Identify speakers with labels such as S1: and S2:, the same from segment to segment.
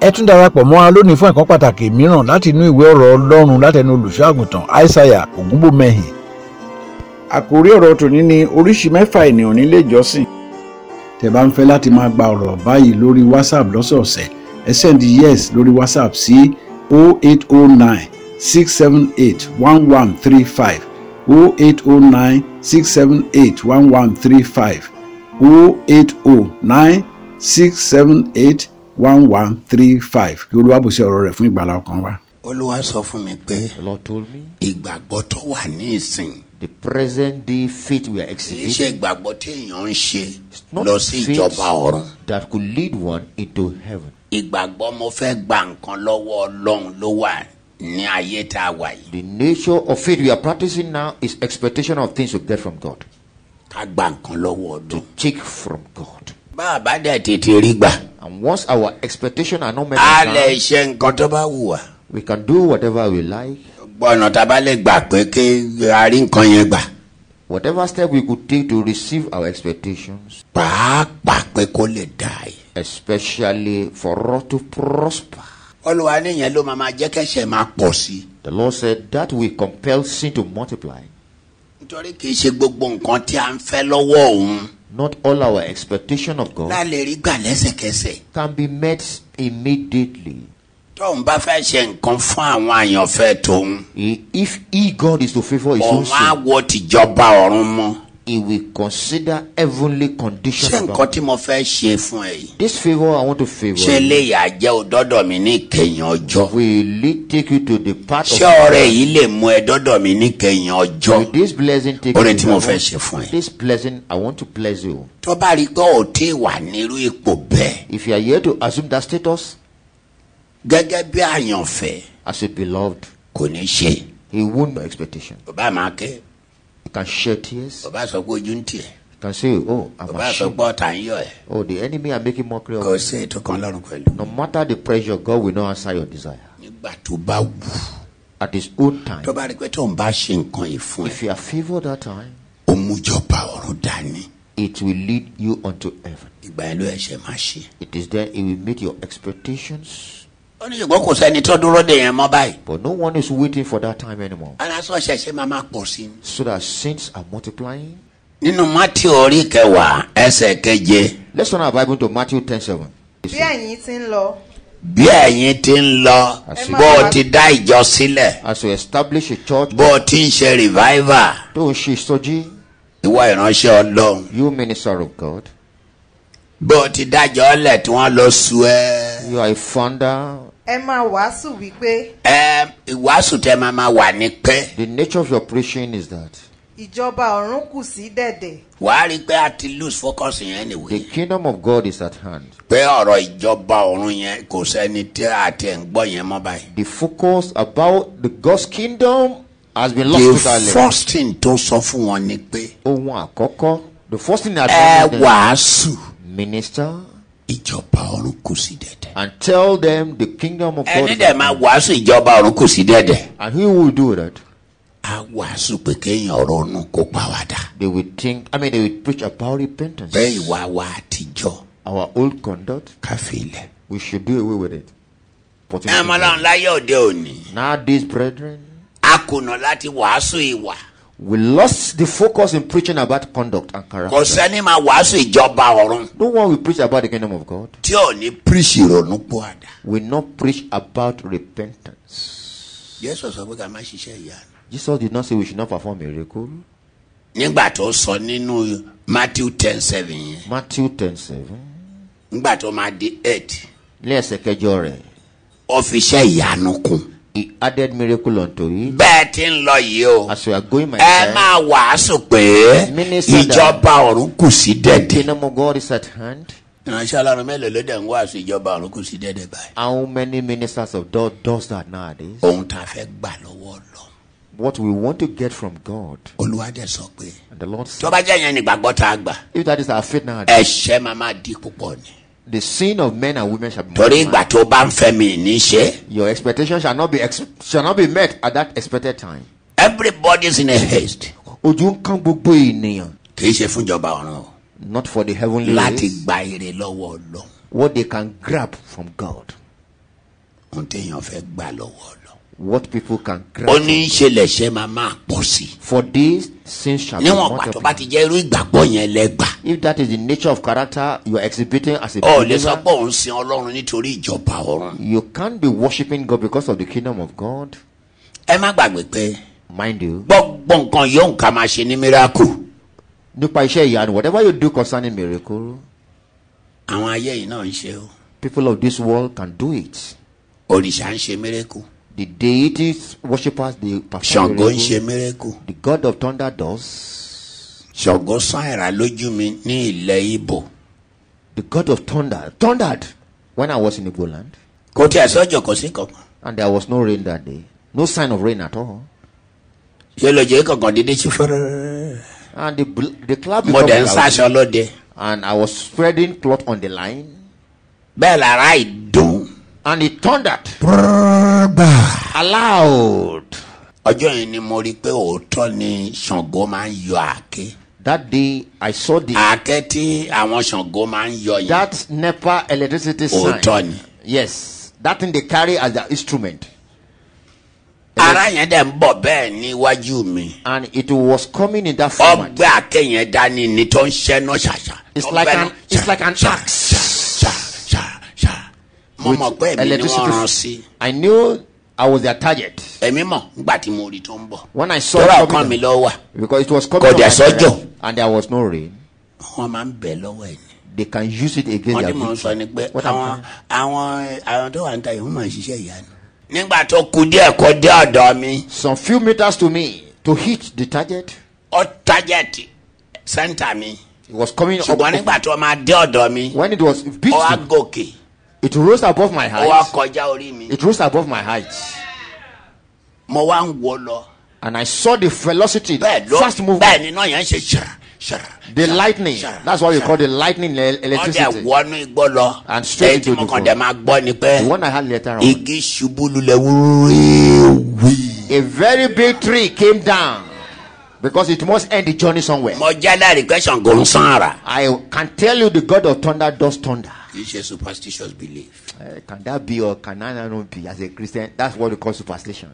S1: ẹ tún darapọ̀ mọ́ wa lónìí fún ẹ̀kọ́ pàtàkì mìíràn láti inú ìwé ọ̀rọ̀ ọlọ́run látẹnu olùṣọ́àgùntàn aishaiya ògúnbòmẹ́hìn.
S2: àkórí ọ̀rọ̀ tòní ni oríṣi mẹ́fà ènìyàn nílé ìjọsìn
S1: tẹ́ bá ń fẹ́ láti máa gba ọ̀rọ̀ báyìí lórí whatsapp lọ́sọ̀ọ̀sẹ̀ ẹ sẹ́ndí yes lórí whatsapp sí 0809 678 1135 0809 678 1135 0809678 1135 kí olúwa bùsí ọ̀rọ̀ rẹ̀ fún ìgbàlá ọkàn wa.
S3: olúwa sọ fún mi pé
S4: The Lord told me
S3: ìgbàgbọ́ tó wà ní ìsìn
S4: the present day faith we are
S3: kì í ṣe
S4: exhibiting
S3: ìgbàgbọ́ téèyàn ń ṣe
S4: not
S3: lọ sí
S4: faith
S3: ìjọba ọ̀run
S4: that could lead one into heaven.
S3: ìgbàgbọ́ mo fẹ́ gba nǹkan lọ́wọ́ ọlọ́run ló wà ní ayé tá a wà yìí
S4: The nature of faith we are practicing now is expectation of things we get from God,
S3: ká gba nǹkan lọ́wọ́ ọdún.
S4: take from God.
S3: bá a bá dẹ̀ tètè rí gbà
S4: And once our expectation are not met,
S3: á
S4: in
S3: lè
S4: time,
S3: ṣe nǹkan tó bá wù wá.
S4: we can do whatever we like.
S3: gbọ́nà tá a bá lè gbà pé kí a rí nǹkan yẹn gbà
S4: Whatever step we could take to receive our expectations,
S3: pàápàá pé kó lè dà yìí.
S4: especially for us to prosper.
S3: olùwà nìyẹn ló máa máa jẹ́ kẹ́sẹ̀ máa pọ̀ sí i.
S4: The Lord said that will compel sin to multiply.
S3: nítorí kì í ṣe gbogbo nǹkan tí a ń fẹ́ lọ́wọ́ òun
S4: Not all our expectation of God
S3: la lè rí gbà lẹ́sẹ̀kẹsẹ̀.
S4: can be met immediately.
S3: tóun bá fẹ́ ṣe nǹkan fún àwọn àyànfẹ́ tóun
S4: He- If he God is to favor his own
S3: òun á
S4: soul,
S3: wo tìjọba ọ̀run mọ́.
S4: he will consider heavenly conditions.
S3: ṣé
S4: about
S3: nǹkan tí mo fẹ́ ṣe fún ẹ yìí
S4: This favor I want to favor.
S3: ṣé
S4: you.
S3: léyà jẹ́ òdọ́dọ̀ mi ní ìkẹyìn ọjọ́?
S4: Will it take you to the path
S3: ṣé
S4: of
S3: ọrẹ yìí lè mú ẹ dọ́dọ̀ mi ní ìkẹyìn ọjọ́?
S4: Will this blessing take
S3: Ọrẹ
S4: you
S3: tí
S4: to
S3: mo
S4: the
S3: fẹ́ ṣe
S4: heaven?
S3: fún ẹ.
S4: This blessing I want to bless you.
S3: tó bá rí i pé ò tí ì wà nírú ipò bẹ́ẹ̀
S4: If you are here to assume that status
S3: gẹ́gẹ́ bí àyànfẹ́
S4: as a beloved,
S3: kò ní ṣe.
S4: he won't know expectation.
S3: bàbá máa kẹ́
S4: You can shed tears.
S3: bàbá sọ pé ojú ń tiẹ̀
S4: You can say, Oh, I'm
S3: bàbá sọ pé
S4: ashamed.
S3: ọ̀tá ń yọ ẹ̀
S4: Oh, the enemy are making mockery of
S3: kò
S4: me.
S3: sí ètò kan lọ́rùn pẹ̀lú.
S4: No matter the pressure, God will not answer your desire.
S3: nígbà tó bá wù
S4: At his own time.
S3: tó bá rí i pé tóun bá ṣe nǹkan yìí fún ẹ
S4: If you are favored that time,
S3: ó mú jọba ọ̀run dání
S4: it will lead you unto heaven.
S3: ìgbà ẹ ló ẹ̀ṣẹ̀ máa ṣe.
S4: It is there it will meet your expectations.
S3: ó ní ṣùgbọ́n kò sẹ́ni tó dúró de yẹn mọ́ báyìí.
S4: But no one is waiting for that time anymore.
S3: aláṣọ ṣẹ̀ṣẹ̀ máa máa pọ̀ sí i.
S4: So that sins are multiplying.
S3: nínú mátì orí kẹwàá ẹsẹ̀ keje
S4: Let's turn our Bible to Matthew ten seven.
S5: bí ẹ̀yin ti ń lọ
S3: bí ẹ̀yin ti ń lọ
S4: Àṣì-
S3: bó o ti dá ìjọ sílẹ̀
S4: As we establish a church,
S3: bó o ti ń ṣe revival
S4: though she is stodgy,
S3: ìwọ ìránṣẹ́ ọlọ́run
S4: you minister of God,
S3: bó o ti dájọ́ ọlẹ̀ tí wọ́n lọ sú ẹ.
S4: you are a founder.
S5: ẹ máa wàásù wípé
S3: ẹ ìwàásù tẹ máa máa wà ní pẹ́
S4: The nature of your preaching is that
S5: ìjọba ọ̀run kù sí dẹ̀dẹ̀
S3: wàá rí i pé a ti lose focus yẹn
S4: the
S3: nìwé.
S4: kingdom of God is at hand.
S3: pé ọ̀rọ̀ ìjọba ọ̀run yẹn kò sẹ́ni tí a ti ń gbọ́ yẹn mọ́ báyìí.
S4: The focus about the God's kingdom has been lost
S3: the
S4: totally.
S3: first thing tó sọ fún wọn ni pé
S4: Ohun àkọ́kọ́, the first thing that
S3: ẹ
S4: happens is
S3: wàásù
S4: minister
S3: ìjọba ọ̀run kù sí dẹ̀dẹ̀.
S4: and tell them the kingdom of God.
S3: ẹni
S4: is
S3: dẹ̀
S4: at
S3: máa
S4: hand.
S3: wàásù ìjọba ọ̀run kù sí dẹ̀dẹ̀.
S4: And who will do that?
S3: a wàásù pé kéèyàn ronú kó pàwàdà.
S4: They will think, I mean, they will preach about repentance.
S3: bẹ́ẹ̀ ìwà wa àtijọ́
S4: Our old conduct,
S3: káfí ilẹ̀.
S4: we should do away with it. But
S3: ẹ mọ lọ́run láyé òde òní
S4: nowadays, brethren,
S3: a kùnà láti wàásù ìwà.
S4: we lost the focus in preaching about conduct and
S3: kò
S4: character.
S3: sẹ́ni máa wàásù ìjọba ọ̀run
S4: No one will preach about the kingdom of God.
S3: tí ò ní píríṣì ronú pọ̀ àdá.
S4: We not preach about repentance.
S3: jésù sọ pé ká má ṣiṣẹ́ ìyanu.
S4: Jesus did not say we should not perform miracle.
S3: nígbà tó sọ nínú matthew ten seven yẹn
S4: Matthew ten seven.
S3: nígbà tó máa di eight
S4: Lẹ́sẹ̀ kẹjọ rẹ̀,
S3: ó fi iṣẹ́ ìyanu kún.
S4: he added miracle unto it.
S3: bẹ́ẹ̀ ti ń lọ yìí o
S4: As Eh? we are going,
S3: ẹ
S4: my friend,
S3: máa wàásù pé
S4: Mínísítà.
S3: ìjọba ọ̀run kù sí dẹ̀dẹ̀.
S4: kingdom of God is at hand.
S3: ìránṣẹ́ ọlọ́run mélòó ló dẹ̀ ń wàásù ìjọba ọ̀run kù sí dẹ̀dẹ̀ báyìí.
S4: How many ministers of God does that nowadays?
S3: ohun tá a fẹ́ gbà lọ́wọ́ lọ
S4: What we want to get from God,
S3: olúwa dẹ̀ sọ pé
S4: and the Lord
S3: tó
S4: said,
S3: bá jẹ́ yẹn nígbàgbọ́ tá a gbà
S4: if that is our faith nowadays,
S3: ẹ̀ṣẹ̀ máa máa di púpọ̀ ni.
S4: the sin of men and women shall be
S3: torí ìgbà
S4: multiplied.
S3: tó bá ń fẹ́ mi ní í ṣe
S4: Your expectation shall not be ex- shall not be met at that expected time.
S3: everybody's in a haste
S4: Ojú ń kán gbogbo ènìyàn.
S3: kì í ṣe fúnjọba ọ̀run o
S4: Not for the heavenly
S3: láti
S4: ways,
S3: gba èrè lọ́wọ́ ọlọ́run
S4: what they can grab from God.
S3: ohun téèyàn fẹ́ gbà lọ́wọ́ lọ.
S4: What people
S3: ó
S4: can grant.
S3: ní í ṣe lẹ̀ṣẹ̀ máa máa pọ̀ sí i.
S4: For this, sin shall be
S3: níwọ̀n pàtó bá
S4: multiplied.
S3: ti jẹ́ irú ìgbàgbọ́ yẹn lẹ́gbà.
S4: If that is the nature of character you are exhibiting as a
S3: ọ ò lè sọ
S4: believer,
S3: pé òun sin ọlọ́run nítorí ìjọba ọ̀run.
S4: you can't be worshiping God because of the kingdom of God.
S3: ẹ má gbàgbé pé
S4: Mind you,
S3: gbọ́gbọ́ nǹkan yóò ká máa ṣe ní miracle.
S4: nípa iṣẹ́ ìyanu, whatever you do concerning miracle,
S3: àwọn ayé yìí náà ń ṣe o.
S4: people of this world can do it.
S3: òrìṣà ń ṣe miracle.
S4: The deities, worshippers, they perform
S3: ṣàngó ń
S4: miracle.
S3: ṣe miracle.
S4: The God of thunder does.
S3: ṣàngó sán ẹ̀rà lójú mi ní ilẹ̀ ibo.
S4: The God of thunder thundered when I was in Igboland,
S3: kò tí ẹ̀ sọ́jọ́ kò sí kankan.
S4: and there was no rain that day. No sign of rain at all.
S3: ṣé ló jẹ́ kankan dídí sí fẹ́rẹ́.
S4: And the bl- the cloud
S3: mo
S4: become
S3: dẹ̀ ń
S4: cloudy,
S3: sáṣọ lóde.
S4: and I was spreading cloth on the line,
S3: bẹ́ẹ̀ lára ìdùn.
S4: and it thundered aloud.
S3: ọjọ́ yẹn ni mo rí i pé òótọ́ ni ṣàngó máa ń yọ àáké.
S4: That day I saw the
S3: àáké tí àwọn ṣàngó máa ń yọ yẹn.
S4: that NEPA electricity
S3: Oh,
S4: sign.
S3: Otoni.
S4: Yes, that thing they carry as their instrument,
S3: ara yẹn dẹ̀ ń bọ̀ bẹ́ẹ̀ níwájú mi.
S4: and it was coming in that format.
S3: ọgbẹ́ àáké yẹn dání ni tó ń ṣẹ́ná ṣàṣà.
S4: It's
S3: tó ń
S4: like
S3: bẹ́nu
S4: an- it's like an
S3: ṣà,
S4: axe.
S3: ṣà, ṣà, ṣà, ṣà. mo
S4: with
S3: mọ̀ pé èmi ni wọ́n rán sí.
S4: I knew I was their target
S3: èmi mọ̀ nígbà tí mo rí i tó ń bọ̀.
S4: when I saw
S3: tọ́lá
S4: it
S3: ọkàn mi
S4: coming
S3: lọ́wọ́ wà.
S4: because it was
S3: Kò
S4: coming. on
S3: dẹ̀
S4: my
S3: sọ́jọ́.
S4: direction, And there was no rain.
S3: wọ́n máa ń bẹ̀ lọ́wọ́ ẹ̀ ni.
S4: They can use it against
S3: wọ́n
S4: their
S3: ní mò ń sọ ni pé
S4: victim. What
S3: àwọn
S4: happened?
S3: àwọn àwọn tó wà ń ta yìí wọ́n máa ń ṣiṣẹ́ ìyanu. nígbà tó ku díẹ̀ kó dé ọ̀dọ̀ mi
S4: Some few meters to me to hit the target.
S3: ó tájẹ̀tì sẹ́ńtà mi
S4: It was coming up.
S3: ṣùgbọ́n nígbà tó máa dé ọ̀dọ̀ mi
S4: When it was beat,
S3: ó wá gòkè
S4: it rose above my
S3: ó wá
S4: height.
S3: kọjá orí mi
S4: It rose above my height.
S3: mo wá ń wò lọ
S4: And I saw the velocity,
S3: bẹ́ẹ̀ ló
S4: fast
S3: bẹ́ẹ̀
S4: movement,
S3: ni náà yẹn ṣe ṣara ṣara.
S4: the
S3: ṣara,
S4: lightning.
S3: ṣara,
S4: That's what we
S3: ṣara.
S4: call the lightning el-
S3: wọ́n dẹ̀
S4: electricity.
S3: wọnú igbó lọ
S4: And straight
S3: èyí tí
S4: into
S3: mo
S4: the
S3: kàn
S4: phone.
S3: dẹ̀ máa gbọ́ ni pé
S4: The one I had later on.
S3: igi ṣubú lulẹ̀ wíwíwí.
S4: A very big tree came down because it must end the journey somewhere.
S3: mo jẹ́ lẹ́rìí pé ṣàǹgó ń sán ara.
S4: I can tell you the God of thunder does thunder.
S3: kì í ṣe superstitious belief.
S4: Eh, can that be or can that not be as a Christian? That's what we call superstition.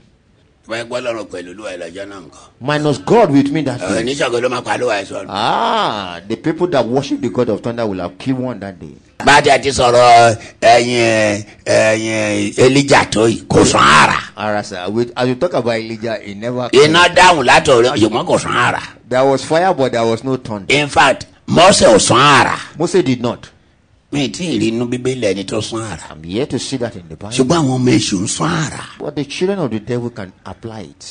S3: wọ́n gbọ́ lọ́rùn pẹ̀lú olúwa ẹ̀ lọ́jọ́ náà nǹkan.
S4: Minus God with me that
S3: ọ̀rọ̀
S4: day.
S3: oníṣègùn ló máa pa olúwa ẹ̀ sọ̀rọ̀.
S4: Ah, the people that worship the God of thunder will have killed one that day.
S3: bá a ti àti sọ̀rọ̀ ẹ̀yìn ẹ̀yìn elija tó yìí kò sàn ara.
S4: Alright, sir. With, as you talk about Elijah, he never.
S3: iná dáhùn látòrí ṣùgbọ́n kò sàn ara.
S4: There was fire, but there was no thunder.
S3: in fact mọ́sẹ̀ ò sàn ara.
S4: Moses did not.
S3: mi tí ì rí inú bíbélì ẹni tó sàn ara.
S4: I'm here to see that in the Bible.
S3: ṣùgbọ́n àwọn ọmọ èṣù ń sàn ara.
S4: But the children of the devil can apply it.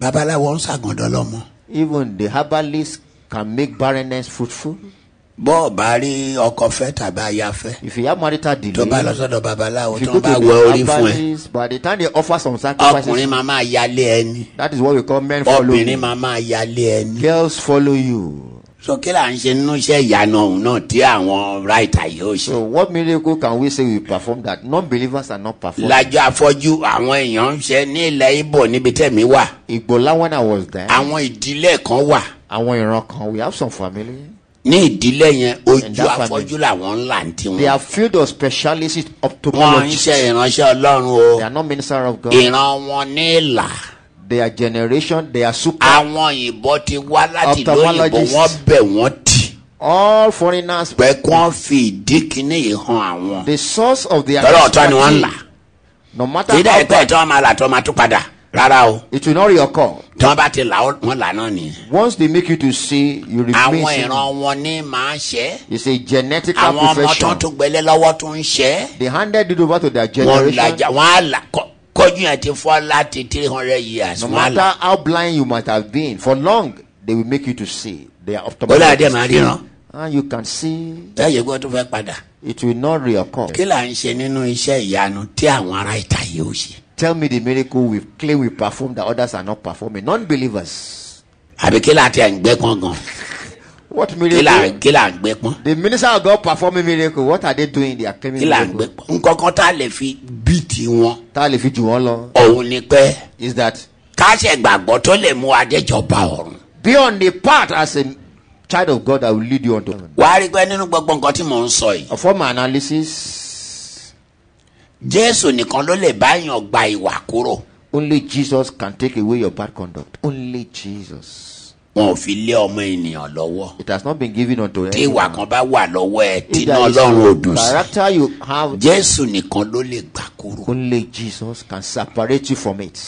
S3: babaláwo ń ṣàgàndàn lọ́mọ.
S4: Even the herbalists can make barrenness fruitful.
S3: bọ́ọ̀ bá rí ọkọ fẹ́ tàbí aya fẹ́.
S4: If you have marital delay,
S3: tó bá lọ sọ́dọ̀ babaláwo
S4: if
S3: tó ń
S4: you go
S3: bá
S4: to
S3: wẹ orí
S4: the
S3: fún ẹ.
S4: herbalist, by the time they offer some
S3: ọkùnrin
S4: sacrifices,
S3: máa máa yálé ẹni.
S4: that is what we call men follow
S3: obìnrin
S4: you.
S3: máa máa yálé ẹni.
S4: Girls follow you.
S3: so kí là ń ṣe nínú iṣẹ́ ìyanu ọ̀hún náà tí àwọn ráìtà yóò ṣe.
S4: So, what miracle can we say we perform that non-believers are not performing?
S3: lájọ afọ́jú àwọn èèyàn ń ṣe ní ilẹ̀ ibo níbi tẹ̀mí wà
S4: Igbola, when I was there,
S3: àwọn ìdílé kan wà
S4: àwọn ìran kan, we have some family.
S3: ní ìdílé yẹn
S4: And
S3: ojú
S4: that
S3: afọ́jú làwọn ń là ń
S4: They
S3: tiwọn.
S4: are filled of specialists,
S3: wọ́n ń ṣe
S4: ophthalmologists.
S3: ìránṣẹ́ ọlọ́run o
S4: They are not minister of God.
S3: ìran wọn ní ìlà
S4: Their generation, they are super.
S3: àwọn òyìnbó ti wá láti ìlú òyìnbó
S4: Ophthalmologist.
S3: wọ́n bẹ̀ wọ́n tì
S4: All foreigners,
S3: pé kí wọ́n fi ìdí kínní yìí hàn àwọn.
S4: the source of their
S3: tọ́lọ̀ ọ̀tọ́ ni wọ́n ń là
S4: expertise, no matter
S3: kí
S4: how
S3: dẹ́ pẹ́
S4: bad,
S3: tí wọ́n máa là tó máa tún padà rárá o
S4: it will not reoccur.
S3: tí wọ́n bá ti là ó- wọ́n là náà nìyẹn.
S4: Once they make you to see, you remain
S3: àwọn
S4: single.
S3: ìran wọn ní máa ń ṣe é.
S4: It's a genetic
S3: àwọn ọmọ tó ń
S4: profession.
S3: tún gbélé lọ́wọ́ tó ń ṣe é.
S4: They handed it over to their
S3: wọn
S4: generation.
S3: lajà wọn á là kọ- kọjú yẹn ti fọ́ láti three hundred years
S4: No
S3: wọn á là.
S4: matter how blind you might have been, for long they will make you to see. They are
S3: bọ́lá àdé máa
S4: ophthalmologists.
S3: ríran
S4: And you can see
S3: bẹ́ẹ̀ yẹ kó tó fẹ́ padà.
S4: it will not reoccur.
S3: kí là ń ṣe nínú iṣẹ́ ìyanu tí àwọn ará ìta yìí ó ṣe.
S4: Tell me the miracle we claim we perform that others are not performing. Non-believers.
S3: àbí kí là ti à ń gbé pọ́n gan.
S4: What
S3: kí là
S4: miracle?
S3: kí là ń gbé pọ́n.
S4: The minister of God performing miracle. What are they doing? They are claiming
S3: kí là ń gbé
S4: miracle.
S3: pọ́n. nkankan tá a lè fi bí tiwọn
S4: Ta le fi jù wọ́n lọ.
S3: òun ni pé
S4: Is that
S3: káṣẹ̀ gbàgbọ́ tó lè mú adéjọba ọ̀run.
S4: be on the path as a child of God that will lead you unto heaven.
S3: wàá rí i pé nínú gbogbo nǹkan tí mò ń sọ yìí.
S4: From my analysis,
S3: jésù nìkan ló lè báyàn gba ìwà kúrò
S4: Only Jesus can take away your bad conduct. Only Jesus.
S3: wọn ò fi lé ọmọ ènìyàn lọ́wọ́
S4: It has not been given unto
S3: tí ìwà
S4: anyone.
S3: kan bá wà lọ́wọ́ ẹ tí
S4: If
S3: iná
S4: there is
S3: ọlọ́run ò dùn sí
S4: character you have,
S3: jésù nìkan ló lè gbà kúrò
S4: only Jesus can separate you from it.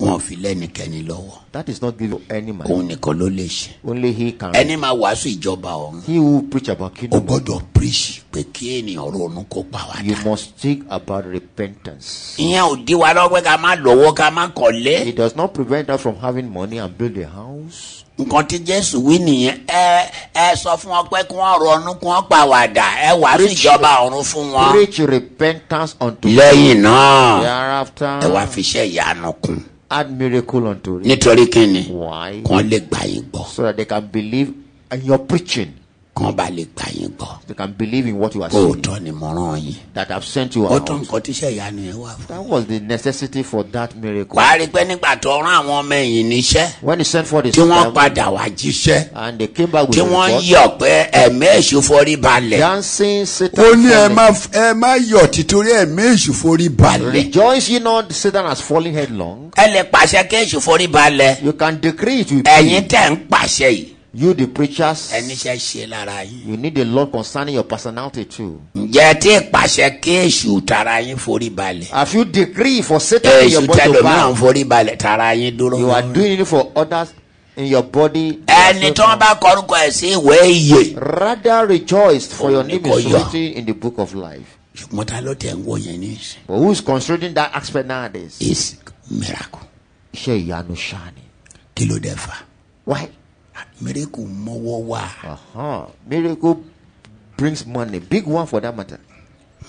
S3: wọn ò fi lẹ́nikẹ́ni lọ́wọ́
S4: That is not given to any man.
S3: òun nìkan ló lè ṣe
S4: Only He can.
S3: ẹni máa wàásù ìjọba ọ̀run
S4: He who preach about
S3: ó
S4: kingdom,
S3: gbọ́dọ̀ píríṣì pé kí ènìyàn ronú kó pa wá
S4: you
S3: dà
S4: must think about repentance.
S3: ìyẹn ò dí wa lọ́wọ́ pé ká má lọ́wọ́ ká má kọ́lé
S4: It does not prevent us from having money and build a house.
S3: nǹkan tí jésù wí nìyẹn ẹ ẹ sọ fún wọn pé kí wọ́n ronú kí wọ́n pa wá dà ẹ wàásù ìjọba ọ̀run fún wọn
S4: Preach repentance unto
S3: lẹ́yìn náà ẹ wá
S4: thereafter.
S3: fi iṣẹ́ ìyanu kún
S4: Add miracle unto it.
S3: nítorí kí ni
S4: Why?
S3: kàn lè gbà yín gbọ́
S4: So that they can believe in your preaching.
S3: kàn bá lè gbà yín gbọ́
S4: They can believe in what you are saying.
S3: òótọ́ ni mo rán yín
S4: That I've sent you
S3: ó
S4: out.
S3: tó nǹkan tíṣẹ́ ìyanu yẹn wà fún.
S4: That was the necessity for that miracle.
S3: wàá rí i pé nígbà tó rán àwọn ọmọ ẹ̀yìn níṣẹ́
S4: When he sent for the
S3: tí wọ́n
S4: disciples
S3: padà wá jíṣẹ́
S4: and they came back with
S3: tí
S4: the
S3: wọ́n
S4: report,
S3: yọ̀ pé ẹ̀mí èṣù forí balẹ̀.
S4: dancing, Satan,
S3: ó ní ẹ
S4: fallen.
S3: má ẹ má yọ̀ títorí ẹ̀mí èṣù forí balẹ̀.
S4: rejoice ye not, Satan has fallen headlong.
S3: ẹ lè pàṣẹ kí èṣù forí balẹ̀.
S4: You can decree it with
S3: ẹ̀yin tẹ̀ ń pàṣẹ yìí.
S4: you, the preachers.
S3: ẹni ṣe ṣe lára yín.
S4: You need the Lord concerning your personality too.
S3: ǹjẹ́ tí ìpàṣẹ kí èṣù tara yín forí balẹ̀.
S4: Have you decree for Satan in
S3: èṣù
S4: your body to
S3: tẹlòmíràn
S4: bow?
S3: forí balẹ̀ tara yín dúró.
S4: You are doing it for others in your body.
S3: ẹni tí wọ́n bá kọrúkọ ẹ̀ sí ìwé ìyè.
S4: rather rejoiced for your
S3: Only
S4: name
S3: for
S4: is
S3: you.
S4: written in the book of life.
S3: ṣùgbọ́n ta ló tẹ̀ ń wò yẹn ní ìsìn.
S4: But who is considering that aspect nowadays?
S3: is miracle.
S4: Iṣẹ́ ìyanu ṣáà ni.
S3: kí ló dé fa.
S4: Why?
S3: miracle mọ́wọ́ wà.
S4: Uh-huh. Miracle brings money, big one for that matter.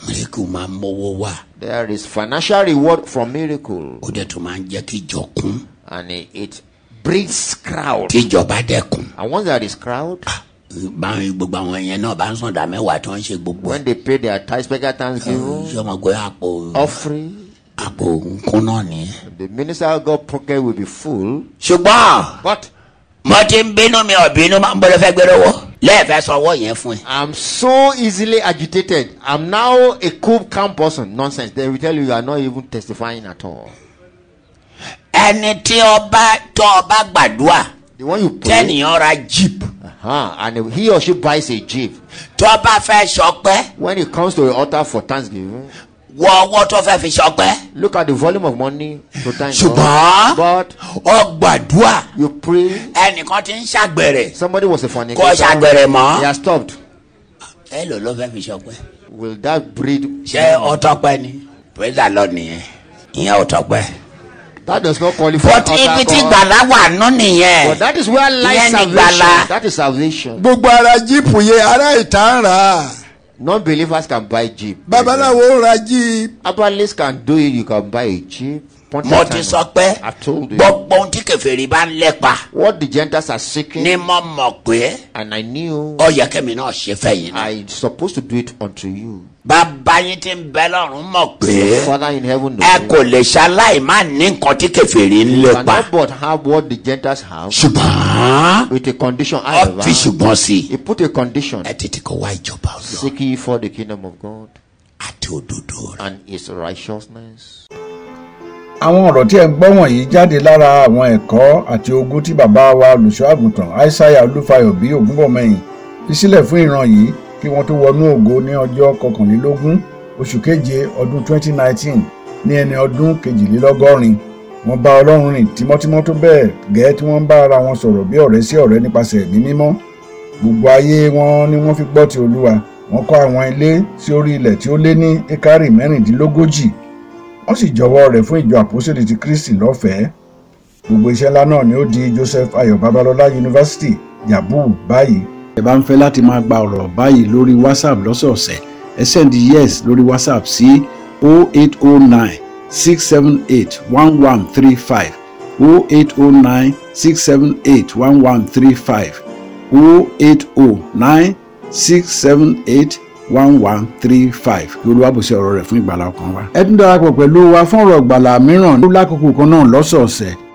S3: miracle máa ń mọ́wọ́ wà.
S4: There is financial reward from miracle,
S3: ó dẹ̀ tún máa ń jẹ́ kí ìjọ kún.
S4: and it- it brings crowd.
S3: tí ìjọba dẹ̀ kún.
S4: And once there is crowd,
S3: báwọn gbogbo àwọn yẹn náà bá ń sọ̀dà mẹ́wàá tó ń ṣe gbogbo ẹ̀.
S4: when they pay their tithes, beggar thanksgiving,
S3: ṣé mo gbé àpò
S4: offering,
S3: àpò nkún náà nìyẹn.
S4: the minister of God pocket will be full.
S3: ṣùgbọ́n
S4: But
S3: mo ti ń bínú mi ò bínú máa ń bọ́dọ̀ fẹ́ gbé lọ́wọ́ lẹ́ẹ̀fẹ́ sanwó yẹn fún ẹ.
S4: I'm so easily agitated. I'm now a cool, calm person. Nonsense. They will tell you you are not even testifying at all.
S3: ẹni tí ọba tó ọba gbàdúrà
S4: The one you pray,
S3: tẹ́nìyàn ra jeep
S4: uh-huh, and he or she buys a jeep.
S3: tó ọba fẹ́ sọpẹ́
S4: When it comes to the altar for thanksgiving,
S3: wọ ọwọ́ tó fẹ́ fi sọpẹ́
S4: look at the volume of money to thank
S3: ṣùgbọ́n
S4: God. But
S3: ọ gbàdúrà
S4: you pray.
S3: ẹnìkan ti ń ṣàgbẹ̀rẹ̀
S4: Somebody was a
S3: kò
S4: fornicator.
S3: ṣàgbẹ̀rẹ̀
S4: They
S3: mọ́.
S4: are stopped.
S3: ẹ lò ló fẹ́ fi sọpẹ́.
S4: Will that breed?
S3: ṣé ọtọpẹ ni praise the lord nìyẹn ìyẹn ọtọpẹ.
S4: That does not qualify.
S3: but
S4: altar
S3: ibi tí
S4: call.
S3: gbàlà wà nù
S4: But
S3: nìyẹn
S4: that is where lies
S3: Eh. Yẹn ni
S4: salvation.
S3: gbàlà.
S4: That is salvation.
S6: gbogbo ara jíìpù yẹn ará ìta ń rà á
S4: Non-believers can buy jeep.
S6: babaláwo ń ra jíìpù
S4: Abalists can do it. You can buy a jeep. Point
S3: mo
S4: of
S3: ti
S4: time.
S3: sọ pé
S4: I told you.
S3: gbogbo ohun tí kẹfẹ́rì bá ń lẹ́pa
S4: What the Gentiles are seeking,
S3: ni mo mọ̀ pé
S4: and I knew
S3: ó yẹ kẹ́mi náà ṣe fẹ́yìn náà.
S4: I supposed to do it unto you.
S3: bàbá yín ti ń bẹ lọ́rùn mọ̀ pé
S4: Father in heaven
S3: ẹ
S4: knows.
S3: kò lè ṣaláì má ní nǹkan tí kẹfẹ́rì ń
S4: You
S3: lẹ́pa.
S4: cannot but have what the Gentiles have
S3: ṣùgbọ́n
S4: with a condition.
S3: ó
S4: However,
S3: fi ṣùgbọ́n sí i.
S4: he put a condition.
S3: ẹ tètè kó wá ìjọba ọlọ́run
S4: Seek ye for the kingdom of God
S3: àti òdodo rẹ̀.
S4: and his righteousness.
S2: àwọn ọ̀rọ̀ tí ẹ̀ ń gbọ́ wọ̀nyí jáde lára àwọn ẹ̀kọ́ àti ogún tí bàbá wa olùṣọ́ àgùntàn aishaiya olúfayọ bí ògúnbọ̀mọyìn fi sílẹ̀ fún ìran yìí kí wọ́n tó wọnú ògo ní ọjọ́ kọkànlélógún oṣù keje ọdún 2019 ní ẹni ọdún kejìlélọ́gọ́rin wọ́n bá ọlọ́run rìn tímọ́tímọ́ tó bẹ́ẹ̀ gẹ́ tí wọ́n bá ara wọn sọ̀rọ̀ bí ọ̀rẹ́ sí ọ̀rẹ́ nípasẹ̀ ẹ̀mí mímọ́ gbogbo ayé wọn ni wọ́n fi gbọ́ ti olúwa wọ́n kọ́ àwọn ilé sí orí ilẹ̀ tí ó lé ní ekari mẹ́rìndínlógójì wọ́n sì jọ̀wọ́ rẹ̀ fún ìjọ àpòsílẹ̀ ti kristi lọ́fẹ̀ẹ́ gbogbo iṣẹ́ ńlá náà ni ó di joseph ayọ̀ babalọ́lá yunifásitì yabu báyìí
S1: ẹ bá ń fẹ́ láti máa gba ọ̀rọ̀ báyìí lórí whatsapp lọ́sọ̀ọ̀sẹ̀ ẹ send yes lórí whatsapp sí 0809 678 1135 0809 678 1135 0809 678 1135 olúwàbùsẹ̀ ọ̀rọ̀ rẹ̀ fún ìgbàlá ọkàn wa. ẹ tún darapọ̀ pẹ̀lú wa fún ọ̀rọ̀ ìgbàlá mìíràn lákòókò kan náà lọ́sọ̀ọ̀sẹ̀